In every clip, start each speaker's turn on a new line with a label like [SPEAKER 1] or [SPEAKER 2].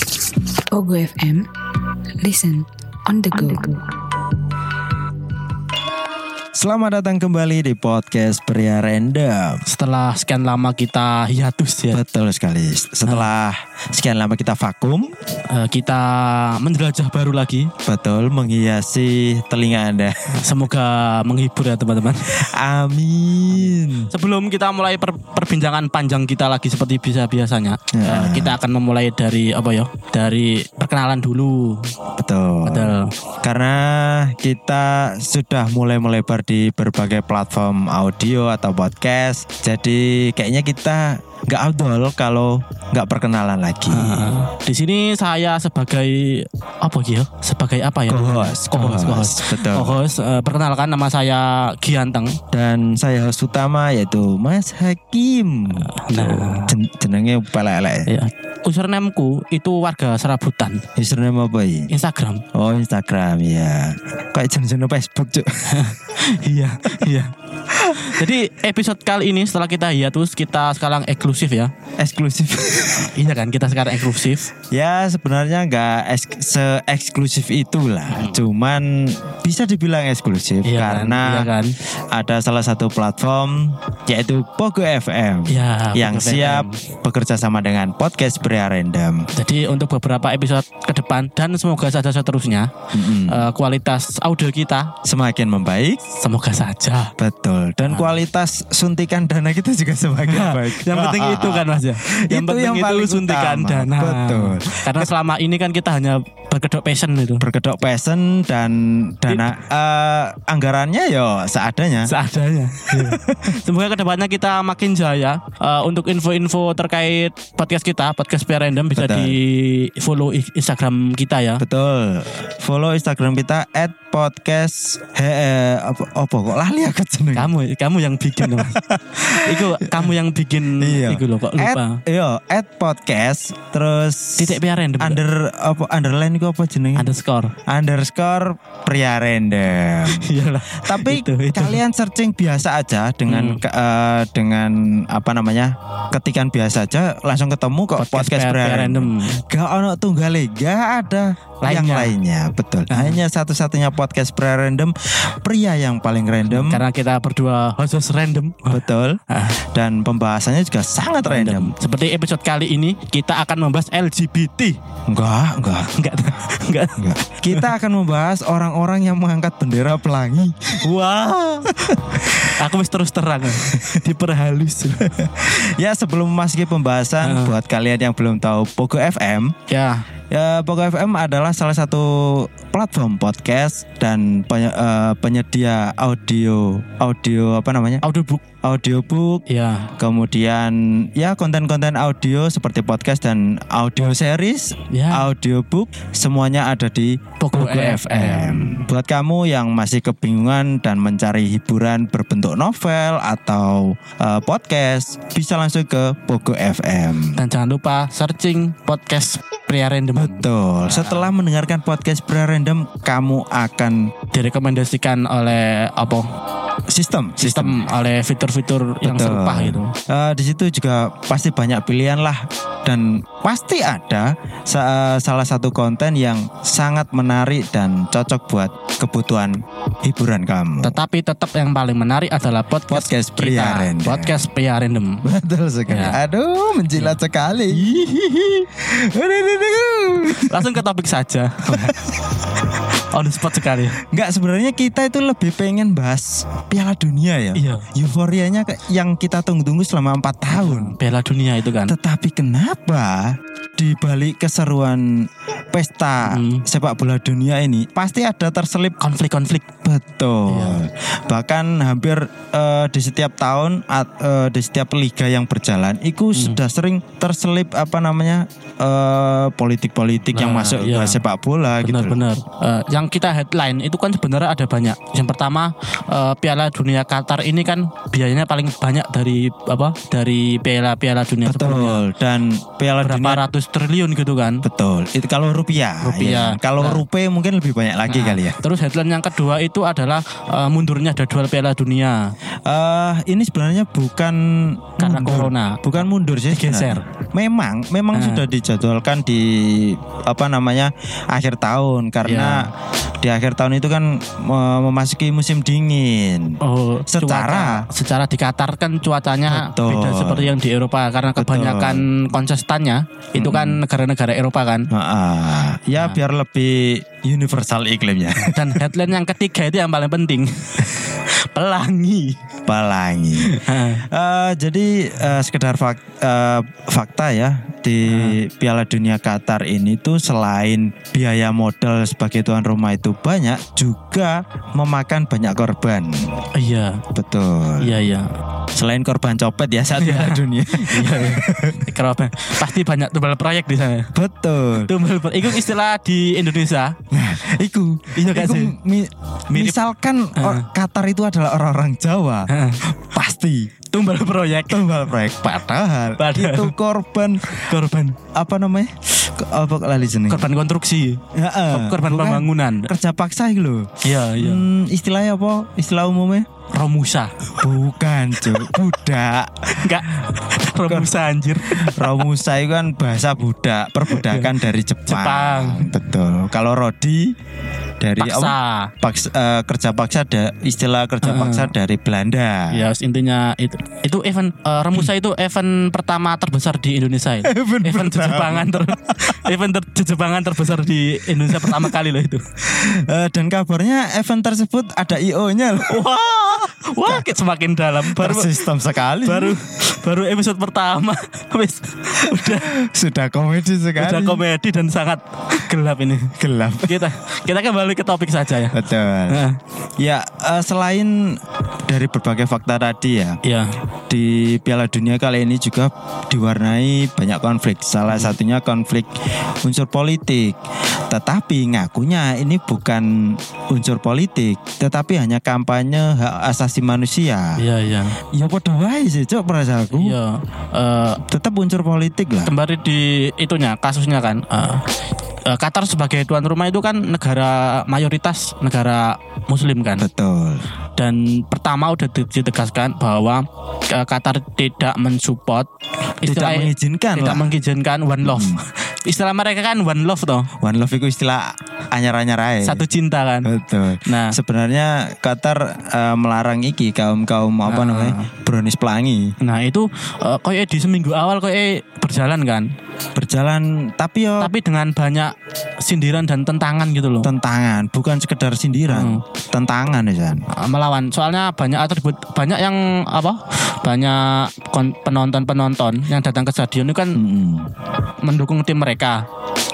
[SPEAKER 1] at Ogo FM. Listen on the go.
[SPEAKER 2] Selamat datang kembali di podcast Pria Random.
[SPEAKER 3] setelah sekian lama kita
[SPEAKER 2] Iya,
[SPEAKER 3] hiatus ya
[SPEAKER 2] Betul sekali. Setelah sekian lama kita vakum,
[SPEAKER 3] eh, kita menjelajah baru lagi
[SPEAKER 2] betul menghiasi telinga Anda.
[SPEAKER 3] semoga menghibur ya teman-teman
[SPEAKER 2] Amin.
[SPEAKER 3] sebelum kita mulai per- perbincangan panjang kita lagi seperti bisa biasanya eh,
[SPEAKER 2] Ya.
[SPEAKER 3] kita akan memulai dari apa ya dari perkenalan dulu
[SPEAKER 2] Betul.
[SPEAKER 3] Betul.
[SPEAKER 2] Karena kita sudah mulai melebar di berbagai platform audio atau podcast, jadi kayaknya kita nggak outdoor kalau nggak perkenalan lagi.
[SPEAKER 3] Eh, di sini saya sebagai apa ya sebagai apa ya
[SPEAKER 2] Co-host,
[SPEAKER 3] Co-host,
[SPEAKER 2] co-host. Betul.
[SPEAKER 3] Co-host, eh, perkenalkan nama saya Gianteng
[SPEAKER 2] Dan saya host utama yaitu Mas Hakim.
[SPEAKER 3] Nah.
[SPEAKER 2] Jen- jenenge pelek-elek.
[SPEAKER 3] ya usernameku itu warga serabutan
[SPEAKER 2] Username apa ini?
[SPEAKER 3] Instagram
[SPEAKER 2] Oh Instagram ya. Kayak jenis-jenis Facebook cuk.
[SPEAKER 3] iya iya jadi episode kali ini setelah kita hiatus kita sekarang eksklusif ya
[SPEAKER 2] Eksklusif.
[SPEAKER 3] iya kan kita sekarang eksklusif
[SPEAKER 2] ya sebenarnya nggak eks- se-eksklusif itulah. Cuman bisa dibilang eksklusif
[SPEAKER 3] iya
[SPEAKER 2] karena
[SPEAKER 3] kan? iya kan
[SPEAKER 2] ada salah satu platform yaitu Pogo FM.
[SPEAKER 3] Iya,
[SPEAKER 2] yang
[SPEAKER 3] Pogo
[SPEAKER 2] siap
[SPEAKER 3] FM.
[SPEAKER 2] bekerja sama dengan podcast pria random.
[SPEAKER 3] jadi untuk beberapa episode ke depan dan semoga saja seterusnya
[SPEAKER 2] Mm-mm.
[SPEAKER 3] eh, kualitas audio kita
[SPEAKER 2] Semakin membaik,
[SPEAKER 3] semoga saja
[SPEAKER 2] betul. Dan
[SPEAKER 3] Ah.
[SPEAKER 2] kualitas suntikan dana kita juga semakin baik.
[SPEAKER 3] yang penting itu kan mas ya yang
[SPEAKER 2] Itu
[SPEAKER 3] penting
[SPEAKER 2] yang
[SPEAKER 3] itu
[SPEAKER 2] paling
[SPEAKER 3] suntikan
[SPEAKER 2] utama.
[SPEAKER 3] dana
[SPEAKER 2] Betul.
[SPEAKER 3] karena selama ini kan kita hanya berkedok passion itu
[SPEAKER 2] berkedok passion dan dana eh, anggarannya yo seadanya.
[SPEAKER 3] seadanya. Iya. Semoga kedepannya kita makin jaya. Eh, untuk info-info terkait podcast kita, podcast PR Random bisa
[SPEAKER 2] Betul.
[SPEAKER 3] di follow i- Instagram kita ya.
[SPEAKER 2] Betul. Follow Instagram kita @podcast he eh, apa, apa kok lali aku jeneng.
[SPEAKER 3] Kamu, kamu yang bikin loh. Iku kamu yang bikin. Iku loh kok lupa.
[SPEAKER 2] Iya. At, yo, at podcast terus
[SPEAKER 3] Titik PR Random.
[SPEAKER 2] under apa underline kok apa jenenge?
[SPEAKER 3] underscore.
[SPEAKER 2] Underscore pria random.
[SPEAKER 3] Iyalah.
[SPEAKER 2] Tapi
[SPEAKER 3] Itu, itu. Hmm.
[SPEAKER 2] kalian searching biasa aja dengan ke- eh, dengan apa namanya? ketikan biasa aja langsung ketemu kok podcast,
[SPEAKER 3] PR
[SPEAKER 2] pria random.
[SPEAKER 3] Random.
[SPEAKER 2] Gak ono tunggale, gak ada yang
[SPEAKER 3] Lainnya. Hmm.
[SPEAKER 2] lainnya, betul. Hanya satu-satunya podcast pria random, pria yang paling random,
[SPEAKER 3] Karena kita berdua host-host random.
[SPEAKER 2] betul.
[SPEAKER 3] Ah.
[SPEAKER 2] Dan pembahasannya juga sangat random.
[SPEAKER 3] Seperti episode kali ini kita akan membahas LGBT.
[SPEAKER 2] Enggak, enggak,
[SPEAKER 3] Enggak, enggak.
[SPEAKER 2] enggak. Kita akan membahas orang-orang yang mengangkat bendera pelangi.
[SPEAKER 3] Wah. Aku wis terus terang diperhalus.
[SPEAKER 2] ya sebelum memasuki pembahasan,
[SPEAKER 3] Hmm.
[SPEAKER 2] buat kalian yang belum tahu Pogo FM,
[SPEAKER 3] ya,
[SPEAKER 2] Ya, Pogo FM adalah salah satu platform podcast dan penye- eh, penyedia audio audio apa namanya?
[SPEAKER 3] audiobook.
[SPEAKER 2] audiobook
[SPEAKER 3] Ya,
[SPEAKER 2] Kemudian ya konten-konten audio seperti podcast dan audio series,
[SPEAKER 3] ya.
[SPEAKER 2] audiobook semuanya ada di
[SPEAKER 3] Pogo
[SPEAKER 2] Pogo FM. Buat kamu yang masih kebingungan dan mencari hiburan berbentuk novel atau eh, podcast, bisa langsung ke Pogo FM.
[SPEAKER 3] Dan jangan lupa searching podcast pria random.
[SPEAKER 2] Betul. Setelah mendengarkan podcast Pria Random, kamu akan
[SPEAKER 3] Direkomendasikan oleh apa?
[SPEAKER 2] sistem
[SPEAKER 3] Sistem oleh fitur-fitur yang
[SPEAKER 2] Betul.
[SPEAKER 3] serupa gitu.
[SPEAKER 2] Eh, di situ juga pasti banyak pilihan lah dan pasti ada sa- eh, salah satu konten yang sangat menarik dan cocok buat kebutuhan hiburan kamu.
[SPEAKER 3] Tetapi tetap yang paling menarik adalah podcast,
[SPEAKER 2] Podcast pria
[SPEAKER 3] kita.
[SPEAKER 2] random.
[SPEAKER 3] Podcast pria random.
[SPEAKER 2] Betul sekali.
[SPEAKER 3] Ya.
[SPEAKER 2] Aduh, menjilat sekali. Aduh, aduh, aduh.
[SPEAKER 3] Langsung ke topik saja. On the spot sekali.
[SPEAKER 2] Nggak sebenarnya kita itu lebih pengen bahas Piala Dunia ya.
[SPEAKER 3] Iya.
[SPEAKER 2] Euforianya ke- yang kita tunggu-tunggu selama empat tahun.
[SPEAKER 3] Bela dunia itu kan.
[SPEAKER 2] Tetapi kenapa di balik keseruan pesta
[SPEAKER 3] Hmm.
[SPEAKER 2] sepak bola dunia ini pasti ada terselip
[SPEAKER 3] Konflik-konflik.
[SPEAKER 2] betul.
[SPEAKER 3] Iya.
[SPEAKER 2] Bahkan hampir eh, di setiap tahun at- eh, di setiap liga yang berjalan itu
[SPEAKER 3] Hmm.
[SPEAKER 2] sudah sering terselip apa namanya eh, politik-politik yang
[SPEAKER 3] Nah,
[SPEAKER 2] masuk
[SPEAKER 3] iya.
[SPEAKER 2] ke sepak bola gitu. loh.
[SPEAKER 3] Benar-benar. Eh, yang kita headline itu kan sebenarnya ada banyak. Yang pertama eh, Piala Dunia Qatar ini kan biayanya paling banyak dari apa? Dari piala-piala dunia sebelumnya.
[SPEAKER 2] Betul. Dan Piala
[SPEAKER 3] Berapa
[SPEAKER 2] Dunia
[SPEAKER 3] ratus triliun gitu kan.
[SPEAKER 2] betul. Itu kalau rupiah.
[SPEAKER 3] Rupiah.
[SPEAKER 2] ya. Kalau
[SPEAKER 3] Nah.
[SPEAKER 2] rupiah mungkin lebih banyak lagi
[SPEAKER 3] Nah,
[SPEAKER 2] kali ya.
[SPEAKER 3] Terus headline yang kedua itu adalah eh, mundurnya jadwal Piala Dunia
[SPEAKER 2] eh ini sebenarnya bukan
[SPEAKER 3] karena
[SPEAKER 2] mundur.
[SPEAKER 3] corona.
[SPEAKER 2] bukan mundur sih
[SPEAKER 3] Digeser.
[SPEAKER 2] sebenarnya. memang memang
[SPEAKER 3] Ah.
[SPEAKER 2] sudah dijadwalkan di apa namanya akhir tahun
[SPEAKER 3] Ya.
[SPEAKER 2] karena di akhir tahun itu kan eh, memasuki musim dingin.
[SPEAKER 3] Oh,
[SPEAKER 2] Secara-
[SPEAKER 3] cuaca- secara di Qatar kan cuacanya
[SPEAKER 2] Betul.
[SPEAKER 3] beda seperti yang di Eropa karena
[SPEAKER 2] Betul.
[SPEAKER 3] kebanyakan konsestannya itu kan negara-negara Eropa kan.
[SPEAKER 2] Ah, ya
[SPEAKER 3] Nah.
[SPEAKER 2] biar lebih universal iklimnya.
[SPEAKER 3] Dan headline yang ketiga itu yang paling penting. Pelangi.
[SPEAKER 2] Pelangi. Eh, jadi eh, sekedar fak- eh, fakta ya di
[SPEAKER 3] Ah.
[SPEAKER 2] Piala Dunia Qatar ini tuh selain biaya modal sebagai tuan rumah itu banyak juga memakan banyak korban.
[SPEAKER 3] Iya,
[SPEAKER 2] Betul.
[SPEAKER 3] iya, iya.
[SPEAKER 2] Selain korban copet ya saat Piala Dunia.
[SPEAKER 3] Iya, iya. Kenapa? Pasti banyak tumbal proyek di sana.
[SPEAKER 2] Betul.
[SPEAKER 3] Tumbal proyek itu istilah di Indonesia.
[SPEAKER 2] Iku,
[SPEAKER 3] Iya gak
[SPEAKER 2] iku
[SPEAKER 3] sih?
[SPEAKER 2] mi-
[SPEAKER 3] Mirip.
[SPEAKER 2] misalkan or- Qatar itu adalah orang-orang Jawa,
[SPEAKER 3] Heeh.
[SPEAKER 2] pasti
[SPEAKER 3] tumbal proyek
[SPEAKER 2] tumbal proyek padahal,
[SPEAKER 3] Padahal.
[SPEAKER 2] itu korban
[SPEAKER 3] korban
[SPEAKER 2] apa namanya? Ke- Apa lali jeneng?
[SPEAKER 3] korban konstruksi,
[SPEAKER 2] Heeh.
[SPEAKER 3] korban
[SPEAKER 2] Bukan.
[SPEAKER 3] pembangunan.
[SPEAKER 2] kerja paksa iki lho.
[SPEAKER 3] Iya, iya.
[SPEAKER 2] Hmm, istilahnya apa? Istilah umumnya?
[SPEAKER 3] Romusa.
[SPEAKER 2] Bukan, Cuk. Budak.
[SPEAKER 3] Enggak. Romusa anjir.
[SPEAKER 2] Romusa itu kan bahasa budak, perbudakan dari Jepang.
[SPEAKER 3] Iya. Jepang.
[SPEAKER 2] Betul. Kalau Rodi dari
[SPEAKER 3] Ya
[SPEAKER 2] apa?
[SPEAKER 3] Paksa.
[SPEAKER 2] Paksa, eh, kerja paksa ada istilah kerja
[SPEAKER 3] Heeh.
[SPEAKER 2] paksa dari Belanda.
[SPEAKER 3] Ya, intinya itu itu event eh, Remusa itu event pertama terbesar di Indonesia. Ya.
[SPEAKER 2] Event
[SPEAKER 3] event
[SPEAKER 2] pertama.
[SPEAKER 3] jejebangan ter event ter- jejebangan terbesar di Indonesia pertama kali loh itu.
[SPEAKER 2] Eh, dan kabarnya event tersebut ada IO-nya loh.
[SPEAKER 3] Wah, wah kayak semakin dalam Oh, baru
[SPEAKER 2] Tersistem sekali.
[SPEAKER 3] baru baru episode pertama wis udah
[SPEAKER 2] sudah komedi sekali.
[SPEAKER 3] udah komedi dan sangat gelap ini.
[SPEAKER 2] gelap.
[SPEAKER 3] Kita kita kembali ke topik saja ya.
[SPEAKER 2] Betul.
[SPEAKER 3] Heeh.
[SPEAKER 2] Ya, eh, selain dari berbagai fakta tadi ya,
[SPEAKER 3] Iya.
[SPEAKER 2] di Piala Dunia kali ini juga diwarnai banyak konflik. Salah satunya konflik unsur politik. Tetapi ngakunya ini bukan unsur politik, tetapi hanya kampanye hak asasi manusia.
[SPEAKER 3] Iya, iya.
[SPEAKER 2] Ya padha wae sih, Cuk, perasaanku.
[SPEAKER 3] Iya. Eh,
[SPEAKER 2] Tetap unsur politik lah.
[SPEAKER 3] kembali di itunya kasusnya kan eh, eh, Qatar sebagai tuan rumah itu kan negara mayoritas negara muslim kan
[SPEAKER 2] Betul.
[SPEAKER 3] dan pertama udah di- ditegaskan bahwa eh, Qatar tidak mensupport
[SPEAKER 2] Tidak
[SPEAKER 3] istilah-
[SPEAKER 2] mengizinkan
[SPEAKER 3] tidak
[SPEAKER 2] lah. Hmm.
[SPEAKER 3] mengizinkan one love istilah mereka kan one love toh
[SPEAKER 2] One love itu istilah anyar-anyar ae.
[SPEAKER 3] satu cinta
[SPEAKER 2] Eh.
[SPEAKER 3] kan
[SPEAKER 2] Betul.
[SPEAKER 3] nah
[SPEAKER 2] Sebenarnya Qatar eh, melarang iki kaum-kaum apa
[SPEAKER 3] Ah.
[SPEAKER 2] namanya? Brownies pelangi.
[SPEAKER 3] nah itu eh, koyo di seminggu awal koyo berjalan kan
[SPEAKER 2] berjalan tapi yo
[SPEAKER 3] tapi dengan banyak sindiran dan tentangan gitu loh
[SPEAKER 2] tentangan bukan sekedar sindiran
[SPEAKER 3] Hmm.
[SPEAKER 2] tentangan ya San.
[SPEAKER 3] Uh, melawan soalnya banyak atribut banyak yang apa banyak penonton penonton yang datang ke stadion itu kan
[SPEAKER 2] Mm-mm.
[SPEAKER 3] mendukung tim mereka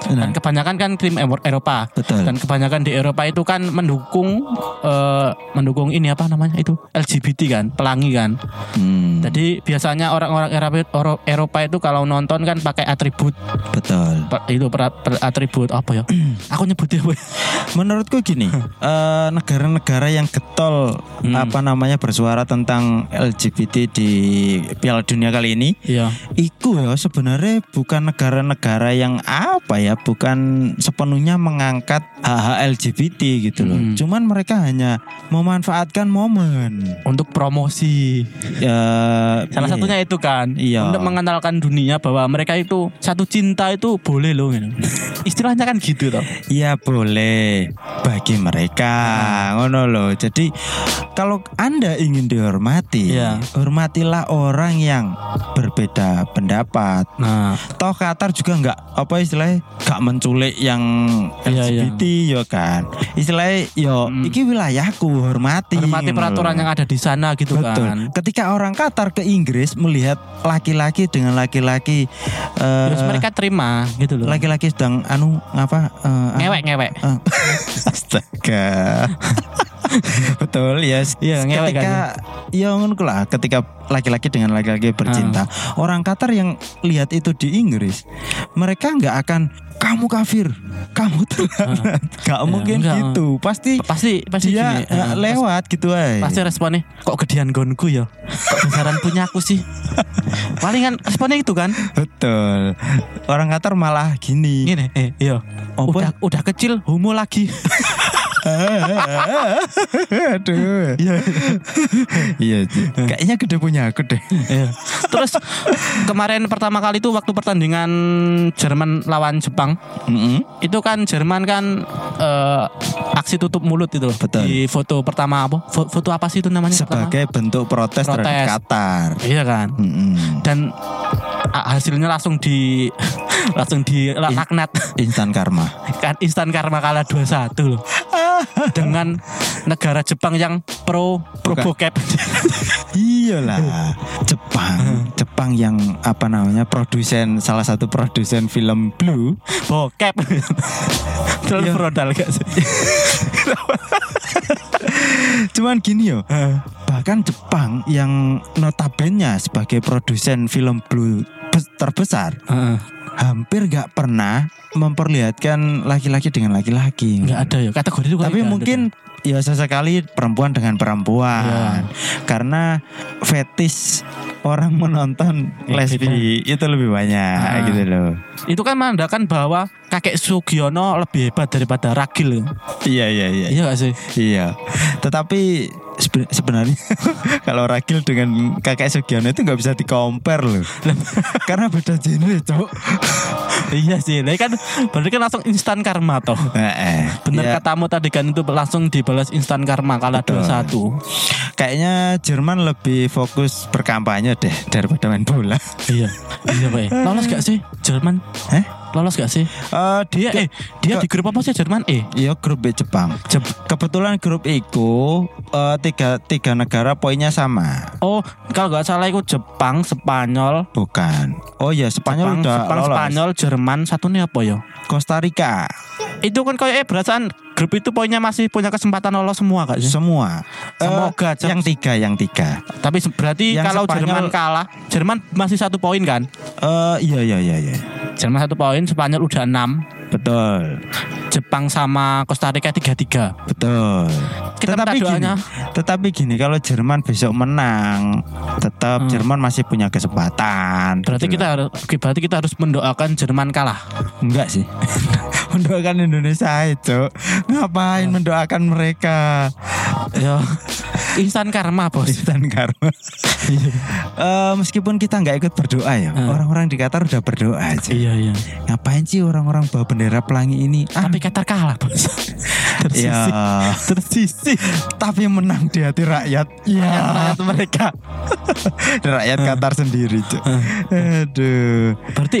[SPEAKER 2] Hmm. Nah,
[SPEAKER 3] dan kebanyakan kan tim Ewo- Eropa
[SPEAKER 2] betul
[SPEAKER 3] dan kebanyakan di Eropa itu kan mendukung eh, mendukung ini apa namanya itu LGBT kan pelangi kan
[SPEAKER 2] Mm,
[SPEAKER 3] jadi biasanya orang-orang Eropa Oro- Eropa itu kalau nonton kan pakai atribut
[SPEAKER 2] betul
[SPEAKER 3] per- itu per, per- atribut apa ya aku nyebutnya ya? weh.
[SPEAKER 2] menurutku gini eh, negara-negara yang getol
[SPEAKER 3] Hmm.
[SPEAKER 2] apa namanya bersuara tentang LGBT di Piala Dunia kali ini
[SPEAKER 3] iya
[SPEAKER 2] Iku ya sebenarnya bukan negara-negara yang apa ya, bukan sepenuhnya mengangkat hak LGBT gitu loh.
[SPEAKER 3] Hmm.
[SPEAKER 2] Cuman mereka hanya memanfaatkan momen.
[SPEAKER 3] untuk promosi
[SPEAKER 2] Ya,
[SPEAKER 3] Salah
[SPEAKER 2] iya.
[SPEAKER 3] satunya itu kan
[SPEAKER 2] Iya.
[SPEAKER 3] untuk mengenalkan dunia bahwa mereka itu satu cinta itu boleh loh. gitu. Istilahnya kan gitu toh.
[SPEAKER 2] Iya boleh bagi mereka
[SPEAKER 3] Hmm.
[SPEAKER 2] ngono loh. Jadi kalau Anda ingin dihormati,
[SPEAKER 3] Iya.
[SPEAKER 2] hormatilah orang yang berbeda pendapat.
[SPEAKER 3] Nah,
[SPEAKER 2] Toh Qatar juga nggak apa istilahnya nggak menculik yang
[SPEAKER 3] Iya,
[SPEAKER 2] LGBT ya kan. Istilahnya yo
[SPEAKER 3] Hmm.
[SPEAKER 2] iki wilayahku hormati.
[SPEAKER 3] hormati
[SPEAKER 2] ngono
[SPEAKER 3] peraturan
[SPEAKER 2] loh.
[SPEAKER 3] yang ada di sana gitu
[SPEAKER 2] iya. Betul.
[SPEAKER 3] kan.
[SPEAKER 2] Ketika orang Qatar ke Inggris melihat laki-laki dengan laki-laki eh,
[SPEAKER 3] Terus mereka terima gitu loh.
[SPEAKER 2] laki-laki sedang anu ngapa eh, anu-
[SPEAKER 3] ngewek ngewek.
[SPEAKER 2] Astaga. Betul ya.
[SPEAKER 3] Iya, ngewek
[SPEAKER 2] ketika ya ngono ku lah ketika laki-laki dengan laki-laki bercinta,
[SPEAKER 3] Ah.
[SPEAKER 2] orang Qatar yang lihat itu di Inggris, mereka nggak akan kamu kafir, kamu
[SPEAKER 3] Ah.
[SPEAKER 2] terlaknat. Gak mungkin
[SPEAKER 3] enggak.
[SPEAKER 2] gitu. Pasti
[SPEAKER 3] Iya, ah. Pasti pasti
[SPEAKER 2] dia
[SPEAKER 3] gini,
[SPEAKER 2] eh,
[SPEAKER 3] eh,
[SPEAKER 2] lewat gitu
[SPEAKER 3] pas-
[SPEAKER 2] aja.
[SPEAKER 3] Pasti responnya kok gedean gonku ya. Kok besaran punya aku sih. Palingan responnya itu kan.
[SPEAKER 2] Betul. Orang Qatar malah gini.
[SPEAKER 3] Gini, eh, iya.
[SPEAKER 2] Apa?
[SPEAKER 3] Udah udah kecil homo lagi.
[SPEAKER 2] Aduh.
[SPEAKER 3] Iya.
[SPEAKER 2] Iya, Ci. kayaknya gede punya aku deh.
[SPEAKER 3] Iya. Terus kemarin pertama kali itu waktu pertandingan Jerman lawan Jepang
[SPEAKER 2] Mm-mm.
[SPEAKER 3] itu kan Jerman kan eh, aksi tutup mulut itu loh
[SPEAKER 2] Betul.
[SPEAKER 3] di foto pertama apa Fo- foto apa sih itu namanya pertama?
[SPEAKER 2] Sebagai Hmm. bentuk protes, terhadap
[SPEAKER 3] Protes.
[SPEAKER 2] Qatar.
[SPEAKER 3] iya kan
[SPEAKER 2] Mm-mm.
[SPEAKER 3] dan a- hasilnya langsung di langsung di la-
[SPEAKER 2] Ih.
[SPEAKER 3] laknat
[SPEAKER 2] Instan karma.
[SPEAKER 3] kan instan karma kalah 2-1 loh dengan negara Jepang yang pro pro
[SPEAKER 2] Bukan.
[SPEAKER 3] bokep
[SPEAKER 2] Iyalah. Jepang, Jepang yang apa namanya produsen salah satu produsen film Blue
[SPEAKER 3] bokep terlalu
[SPEAKER 2] Iya.
[SPEAKER 3] frontal gak sih
[SPEAKER 2] Cuman gini yo, bahkan Jepang yang notabene sebagai produsen film blue bes- terbesar
[SPEAKER 3] Heeh.
[SPEAKER 2] hampir nggak pernah memperlihatkan laki-laki dengan laki-laki.
[SPEAKER 3] nggak ada ya gitu kategori itu
[SPEAKER 2] Tapi mungkin ya sesekali perempuan dengan
[SPEAKER 3] Iya.
[SPEAKER 2] perempuan karena fetis orang menonton
[SPEAKER 3] Ya,
[SPEAKER 2] lesbi itu lebih banyak
[SPEAKER 3] Ah.
[SPEAKER 2] gitu loh.
[SPEAKER 3] itu kan menandakan bahwa kakek Sugiono lebih hebat daripada Ragil
[SPEAKER 2] Iya iya iya.
[SPEAKER 3] iya gak sih
[SPEAKER 2] Iya. Tetapi sebe- sebenarnya kalau Ragil dengan kakek Sugiono itu nggak bisa dikompar loh. Karena beda genre, Cok.
[SPEAKER 3] iya sih Lah kan berarti kan langsung instan karma toh
[SPEAKER 2] Heeh.
[SPEAKER 3] bener
[SPEAKER 2] Ya,
[SPEAKER 3] katamu tadi kan itu langsung dibalas instan karma kalah
[SPEAKER 2] Betul.
[SPEAKER 3] 2-1
[SPEAKER 2] Kayaknya Jerman lebih fokus berkampanye deh daripada main bola.
[SPEAKER 3] iya iya pak ya. lolos gak sih Jerman
[SPEAKER 2] Heh?
[SPEAKER 3] lolos gak sih
[SPEAKER 2] Eh,
[SPEAKER 3] dia eh dia di grup apa sih Jerman eh
[SPEAKER 2] Iya grup B Jepang.
[SPEAKER 3] Jep-
[SPEAKER 2] Kebetulan grup itu eh, tiga tiga negara poinnya sama.
[SPEAKER 3] oh kalau nggak salah itu Jepang Spanyol
[SPEAKER 2] Bukan. Oh ya Spanyol
[SPEAKER 3] Jepang,
[SPEAKER 2] udah
[SPEAKER 3] Jepang
[SPEAKER 2] lolos.
[SPEAKER 3] Spanyol Jerman satu nih apa ya
[SPEAKER 2] Costa Rica
[SPEAKER 3] itu kan kayak eh perasaan grup itu poinnya masih punya kesempatan lolos semua gak sih
[SPEAKER 2] semua. Eh,
[SPEAKER 3] Iya. Semoga, Cep.
[SPEAKER 2] yang tiga yang tiga.
[SPEAKER 3] tapi se- berarti
[SPEAKER 2] Yang
[SPEAKER 3] kalau
[SPEAKER 2] Spanyol-
[SPEAKER 3] Jerman kalah Jerman masih satu poin kan
[SPEAKER 2] Eh iya iya iya iya.
[SPEAKER 3] Jerman satu poin Spanyol udah enam
[SPEAKER 2] Betul.
[SPEAKER 3] Jepang sama Costa Rica tiga tiga
[SPEAKER 2] Betul.
[SPEAKER 3] Kita
[SPEAKER 2] tetapi
[SPEAKER 3] minta
[SPEAKER 2] gini,
[SPEAKER 3] doanya.
[SPEAKER 2] tetapi gini kalau Jerman besok menang, tetap
[SPEAKER 3] Hmm.
[SPEAKER 2] Jerman masih punya kesempatan.
[SPEAKER 3] berarti
[SPEAKER 2] gitu
[SPEAKER 3] kita
[SPEAKER 2] loh.
[SPEAKER 3] harus berarti kita harus mendoakan Jerman kalah
[SPEAKER 2] enggak sih. mendoakan Indonesia itu ngapain
[SPEAKER 3] Hmm.
[SPEAKER 2] mendoakan mereka
[SPEAKER 3] ya instan karma bos
[SPEAKER 2] Instan karma. Eh, meskipun kita nggak ikut berdoa ya,
[SPEAKER 3] Hmm.
[SPEAKER 2] orang-orang di Qatar udah berdoa aja.
[SPEAKER 3] iya iya
[SPEAKER 2] Ngapain sih orang-orang bawa bendera pelangi ini? Ah,
[SPEAKER 3] tapi Qatar kalah bos tersisih
[SPEAKER 2] ya,
[SPEAKER 3] tersisih Iya.
[SPEAKER 2] tapi menang di hati rakyat. Ya,
[SPEAKER 3] Rakyat mereka
[SPEAKER 2] rakyat
[SPEAKER 3] Ah.
[SPEAKER 2] Qatar sendiri. Cuk.
[SPEAKER 3] Hmm.
[SPEAKER 2] Aduh.
[SPEAKER 3] berarti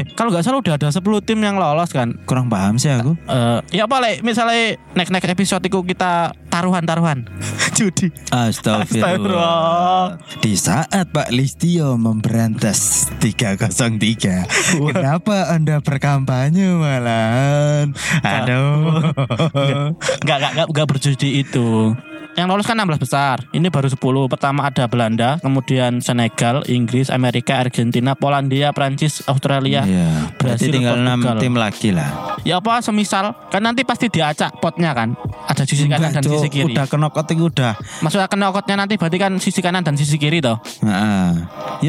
[SPEAKER 3] eh, kalau nggak salah udah ada 10 tim yang lolos kan
[SPEAKER 2] kurang paham sih aku
[SPEAKER 3] Eh, ya apa Lek? misalnya next next episode itu kita taruhan taruhan judi Iya, Astagfirullah.
[SPEAKER 2] Di saat Pak Listio memberantas 303 Kenapa anda berkampanye malahan Aduh
[SPEAKER 3] Iya. nggak nggak nggak- nggak berjudi itu yang lolos kan 16 besar ini baru 10 pertama ada Belanda kemudian Senegal Inggris Amerika Argentina Polandia Prancis Australia
[SPEAKER 2] Iya, berarti
[SPEAKER 3] Brasil,
[SPEAKER 2] tinggal 6
[SPEAKER 3] Portugal.
[SPEAKER 2] tim lagi lah
[SPEAKER 3] ya apa semisal kan nanti pasti diacak potnya kan ada sisi
[SPEAKER 2] Enggak,
[SPEAKER 3] kanan dan
[SPEAKER 2] Cuk.
[SPEAKER 3] sisi kiri
[SPEAKER 2] Udah kenokot itu udah
[SPEAKER 3] maksudnya kena outnya nanti berarti kan sisi kanan dan sisi kiri toh
[SPEAKER 2] Heeh.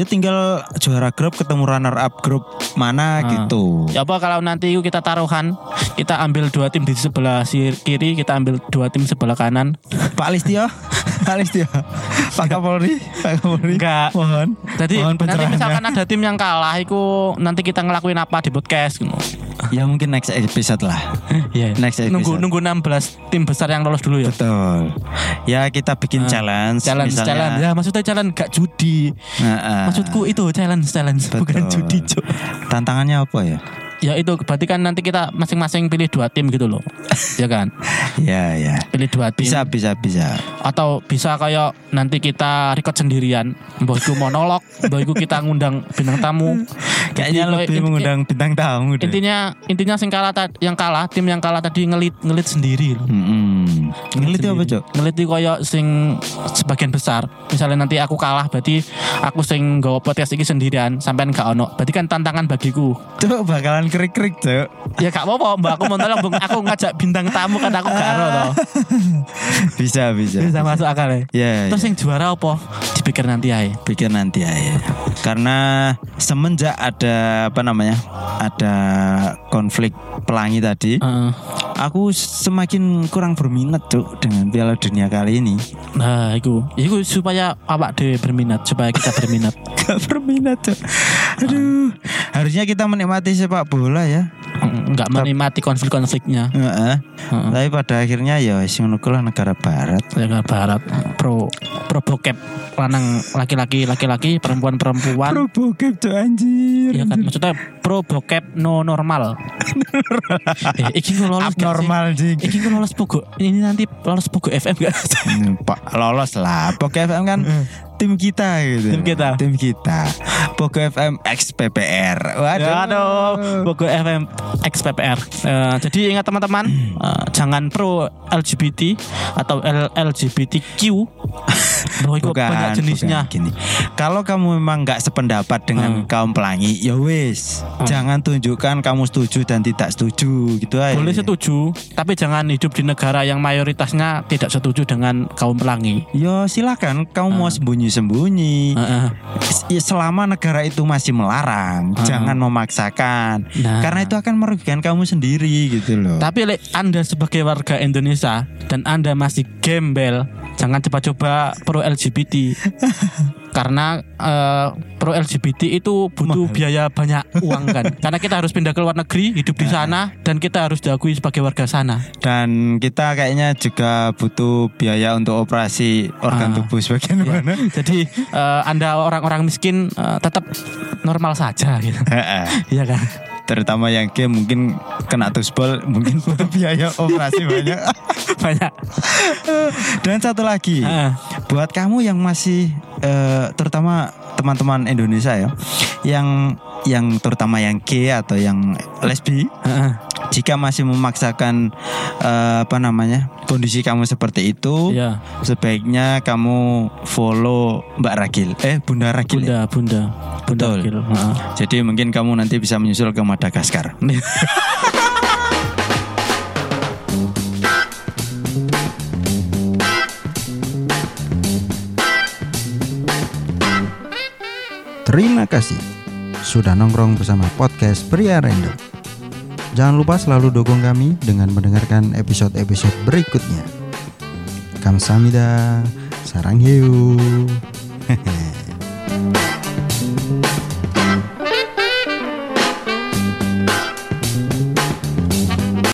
[SPEAKER 2] Ya tinggal juara grup ketemu runner up grup mana
[SPEAKER 3] Ah.
[SPEAKER 2] gitu
[SPEAKER 3] Ya apa kalau nanti yuk kita taruhan, kita ambil dua tim di sebelah si- kiri, kita ambil dua tim sebelah kanan.
[SPEAKER 2] Pak Listio Pak Listio Pak Kapolri Pak Kapolri
[SPEAKER 3] Enggak.
[SPEAKER 2] Mohon
[SPEAKER 3] Jadi
[SPEAKER 2] Mohon
[SPEAKER 3] nanti
[SPEAKER 2] pencerahannya.
[SPEAKER 3] misalkan ada tim yang kalah, itu nanti kita ngelakuin apa di podcast? gitu.
[SPEAKER 2] Ya mungkin next episode lah
[SPEAKER 3] Iya.
[SPEAKER 2] Next episode.
[SPEAKER 3] Nunggu nunggu 16 tim besar yang lolos dulu ya.
[SPEAKER 2] Betul Ya kita bikin
[SPEAKER 3] Ah,
[SPEAKER 2] challenge
[SPEAKER 3] Challenge,
[SPEAKER 2] misalnya.
[SPEAKER 3] challenge. Ya maksudnya challenge gak judi.
[SPEAKER 2] Heeh.
[SPEAKER 3] Maksudku itu challenge, challenge, bukan
[SPEAKER 2] Betul.
[SPEAKER 3] judi, Cuk.
[SPEAKER 2] Tantangannya apa ya?
[SPEAKER 3] Ya itu berarti kan nanti kita masing-masing pilih dua tim gitu loh. ya kan?
[SPEAKER 2] Ya ya.
[SPEAKER 3] Pilih dua tim.
[SPEAKER 2] Bisa bisa bisa.
[SPEAKER 3] atau bisa kayak nanti kita record sendirian mbah iku monolog mbah iku kita ngundang bintang tamu
[SPEAKER 2] Kayaknya
[SPEAKER 3] Jadi,
[SPEAKER 2] lebih
[SPEAKER 3] inti-
[SPEAKER 2] mengundang bintang tamu deh.
[SPEAKER 3] intinya intinya sing kalah ta- yang kalah tim yang kalah tadi ngelit ngelit sendiri loh.
[SPEAKER 2] Mm-mm. Ngelit ya apa
[SPEAKER 3] Sendiri.
[SPEAKER 2] cok?
[SPEAKER 3] Ngelit itu kayak sing sebagian besar. Misalnya nanti aku kalah berarti aku sing nggawa podcast iki sendirian sampean gak ono. Berarti kan tantangan bagiku.
[SPEAKER 2] Cok bakalan krik krik cok.
[SPEAKER 3] Ya gak apa-apa, Mbak. Aku monolog, Bung. Aku ngajak bintang tamu kan aku gak ono toh.
[SPEAKER 2] Bisa bisa.
[SPEAKER 3] Bisa masuk akal ya.
[SPEAKER 2] Ya. ya.
[SPEAKER 3] Terus yang juara apa? Dipikir nanti ae.
[SPEAKER 2] Pikir nanti aja. Karena
[SPEAKER 3] Ah.
[SPEAKER 2] semenjak ada apa namanya? Ada konflik pelangi tadi.
[SPEAKER 3] Heeh.
[SPEAKER 2] aku semakin kurang berminat cuk dengan Piala Dunia kali ini.
[SPEAKER 3] Nah, itu, itu supaya awak dewe berminat, supaya kita berminat.
[SPEAKER 2] Gak berminat cuk. Aduh, harusnya kita menikmati sepak bola ya.
[SPEAKER 3] Enggak menikmati konflik-konfliknya.
[SPEAKER 2] Heeh.
[SPEAKER 3] Heeh.
[SPEAKER 2] Tapi pada akhirnya ya wis ngono kuwi lah negara barat.
[SPEAKER 3] Negara Ya, Barat pro pro bokep lanang laki-laki laki-laki perempuan perempuan
[SPEAKER 2] bokep cuk anjir.
[SPEAKER 3] ya kan maksudnya pro bokep no normal eh, iki ku lolos gak sih?
[SPEAKER 2] Abnormal sih.
[SPEAKER 3] iki ku lolos pogo ini nanti lolos pogo FM gak
[SPEAKER 2] Hmm, Pak lolos lah. Poke FM kan tim kita gitu.
[SPEAKER 3] Tim kita.
[SPEAKER 2] Tim kita. Poke FM X PPR. Waduh.
[SPEAKER 3] Ya, Aduh, Bogor FM XPPR. Eh, jadi ingat teman-teman,
[SPEAKER 2] Hmm.
[SPEAKER 3] eh, jangan pro LGBT atau L- LGBTQ. Bahwa itu
[SPEAKER 2] Bukan,
[SPEAKER 3] banyak jenisnya. Mm.
[SPEAKER 2] bukan. Gini. Kalau kamu memang nggak sependapat dengan kaum pelangi, ya wis, jangan tunjukkan kamu setuju dan tidak setuju gitu aja.
[SPEAKER 3] Boleh setuju, tapi jangan hidup di negara yang mayoritasnya tidak setuju dengan kaum pelangi.
[SPEAKER 2] Ya silakan, kamu
[SPEAKER 3] Mm.
[SPEAKER 2] mau sembunyi-sembunyi.
[SPEAKER 3] Heeh.
[SPEAKER 2] Ya, Selama negara itu masih melarang,
[SPEAKER 3] Mm.
[SPEAKER 2] jangan memaksakan.
[SPEAKER 3] Nah.
[SPEAKER 2] Karena itu akan merugikan kamu sendiri gitu loh.
[SPEAKER 3] Tapi like, Anda sebagai warga Indonesia dan Anda masih gembel, jangan coba-coba pro LGBT. Karena eh, pro LGBT itu butuh biaya banyak uang kan. Karena kita harus pindah ke luar negeri, hidup
[SPEAKER 2] Nah.
[SPEAKER 3] di sana dan kita harus diakui sebagai warga sana.
[SPEAKER 2] Dan kita kayaknya juga butuh biaya untuk operasi organ
[SPEAKER 3] Ah.
[SPEAKER 2] tubuh sebagian mana.
[SPEAKER 3] Jadi eh, Anda orang-orang miskin eh, tetap normal saja gitu.
[SPEAKER 2] Heeh.
[SPEAKER 3] Iya kan?
[SPEAKER 2] Terutama yang game mungkin kena tusbol mungkin butuh biaya operasi banyak. Iya.
[SPEAKER 3] Banyak.
[SPEAKER 2] Dan satu lagi,
[SPEAKER 3] Heeh.
[SPEAKER 2] buat kamu yang masih eh, terutama teman-teman Indonesia ya, yang yang terutama yang gay atau yang lesbi,
[SPEAKER 3] Heeh.
[SPEAKER 2] jika masih memaksakan eh, apa namanya kondisi kamu seperti itu,
[SPEAKER 3] Iya.
[SPEAKER 2] sebaiknya kamu follow Mbak Ragil, eh Bunda Ragil. ya?
[SPEAKER 3] Bunda, bunda, bunda.
[SPEAKER 2] Betul.
[SPEAKER 3] Gil. Heeh.
[SPEAKER 2] Jadi mungkin kamu nanti bisa menyusul ke Madagaskar.
[SPEAKER 4] Terima kasih sudah nongkrong bersama podcast Pria Random. Jangan lupa selalu dukung kami dengan mendengarkan episode-episode berikutnya. Kamsahamnida, sarang hiu.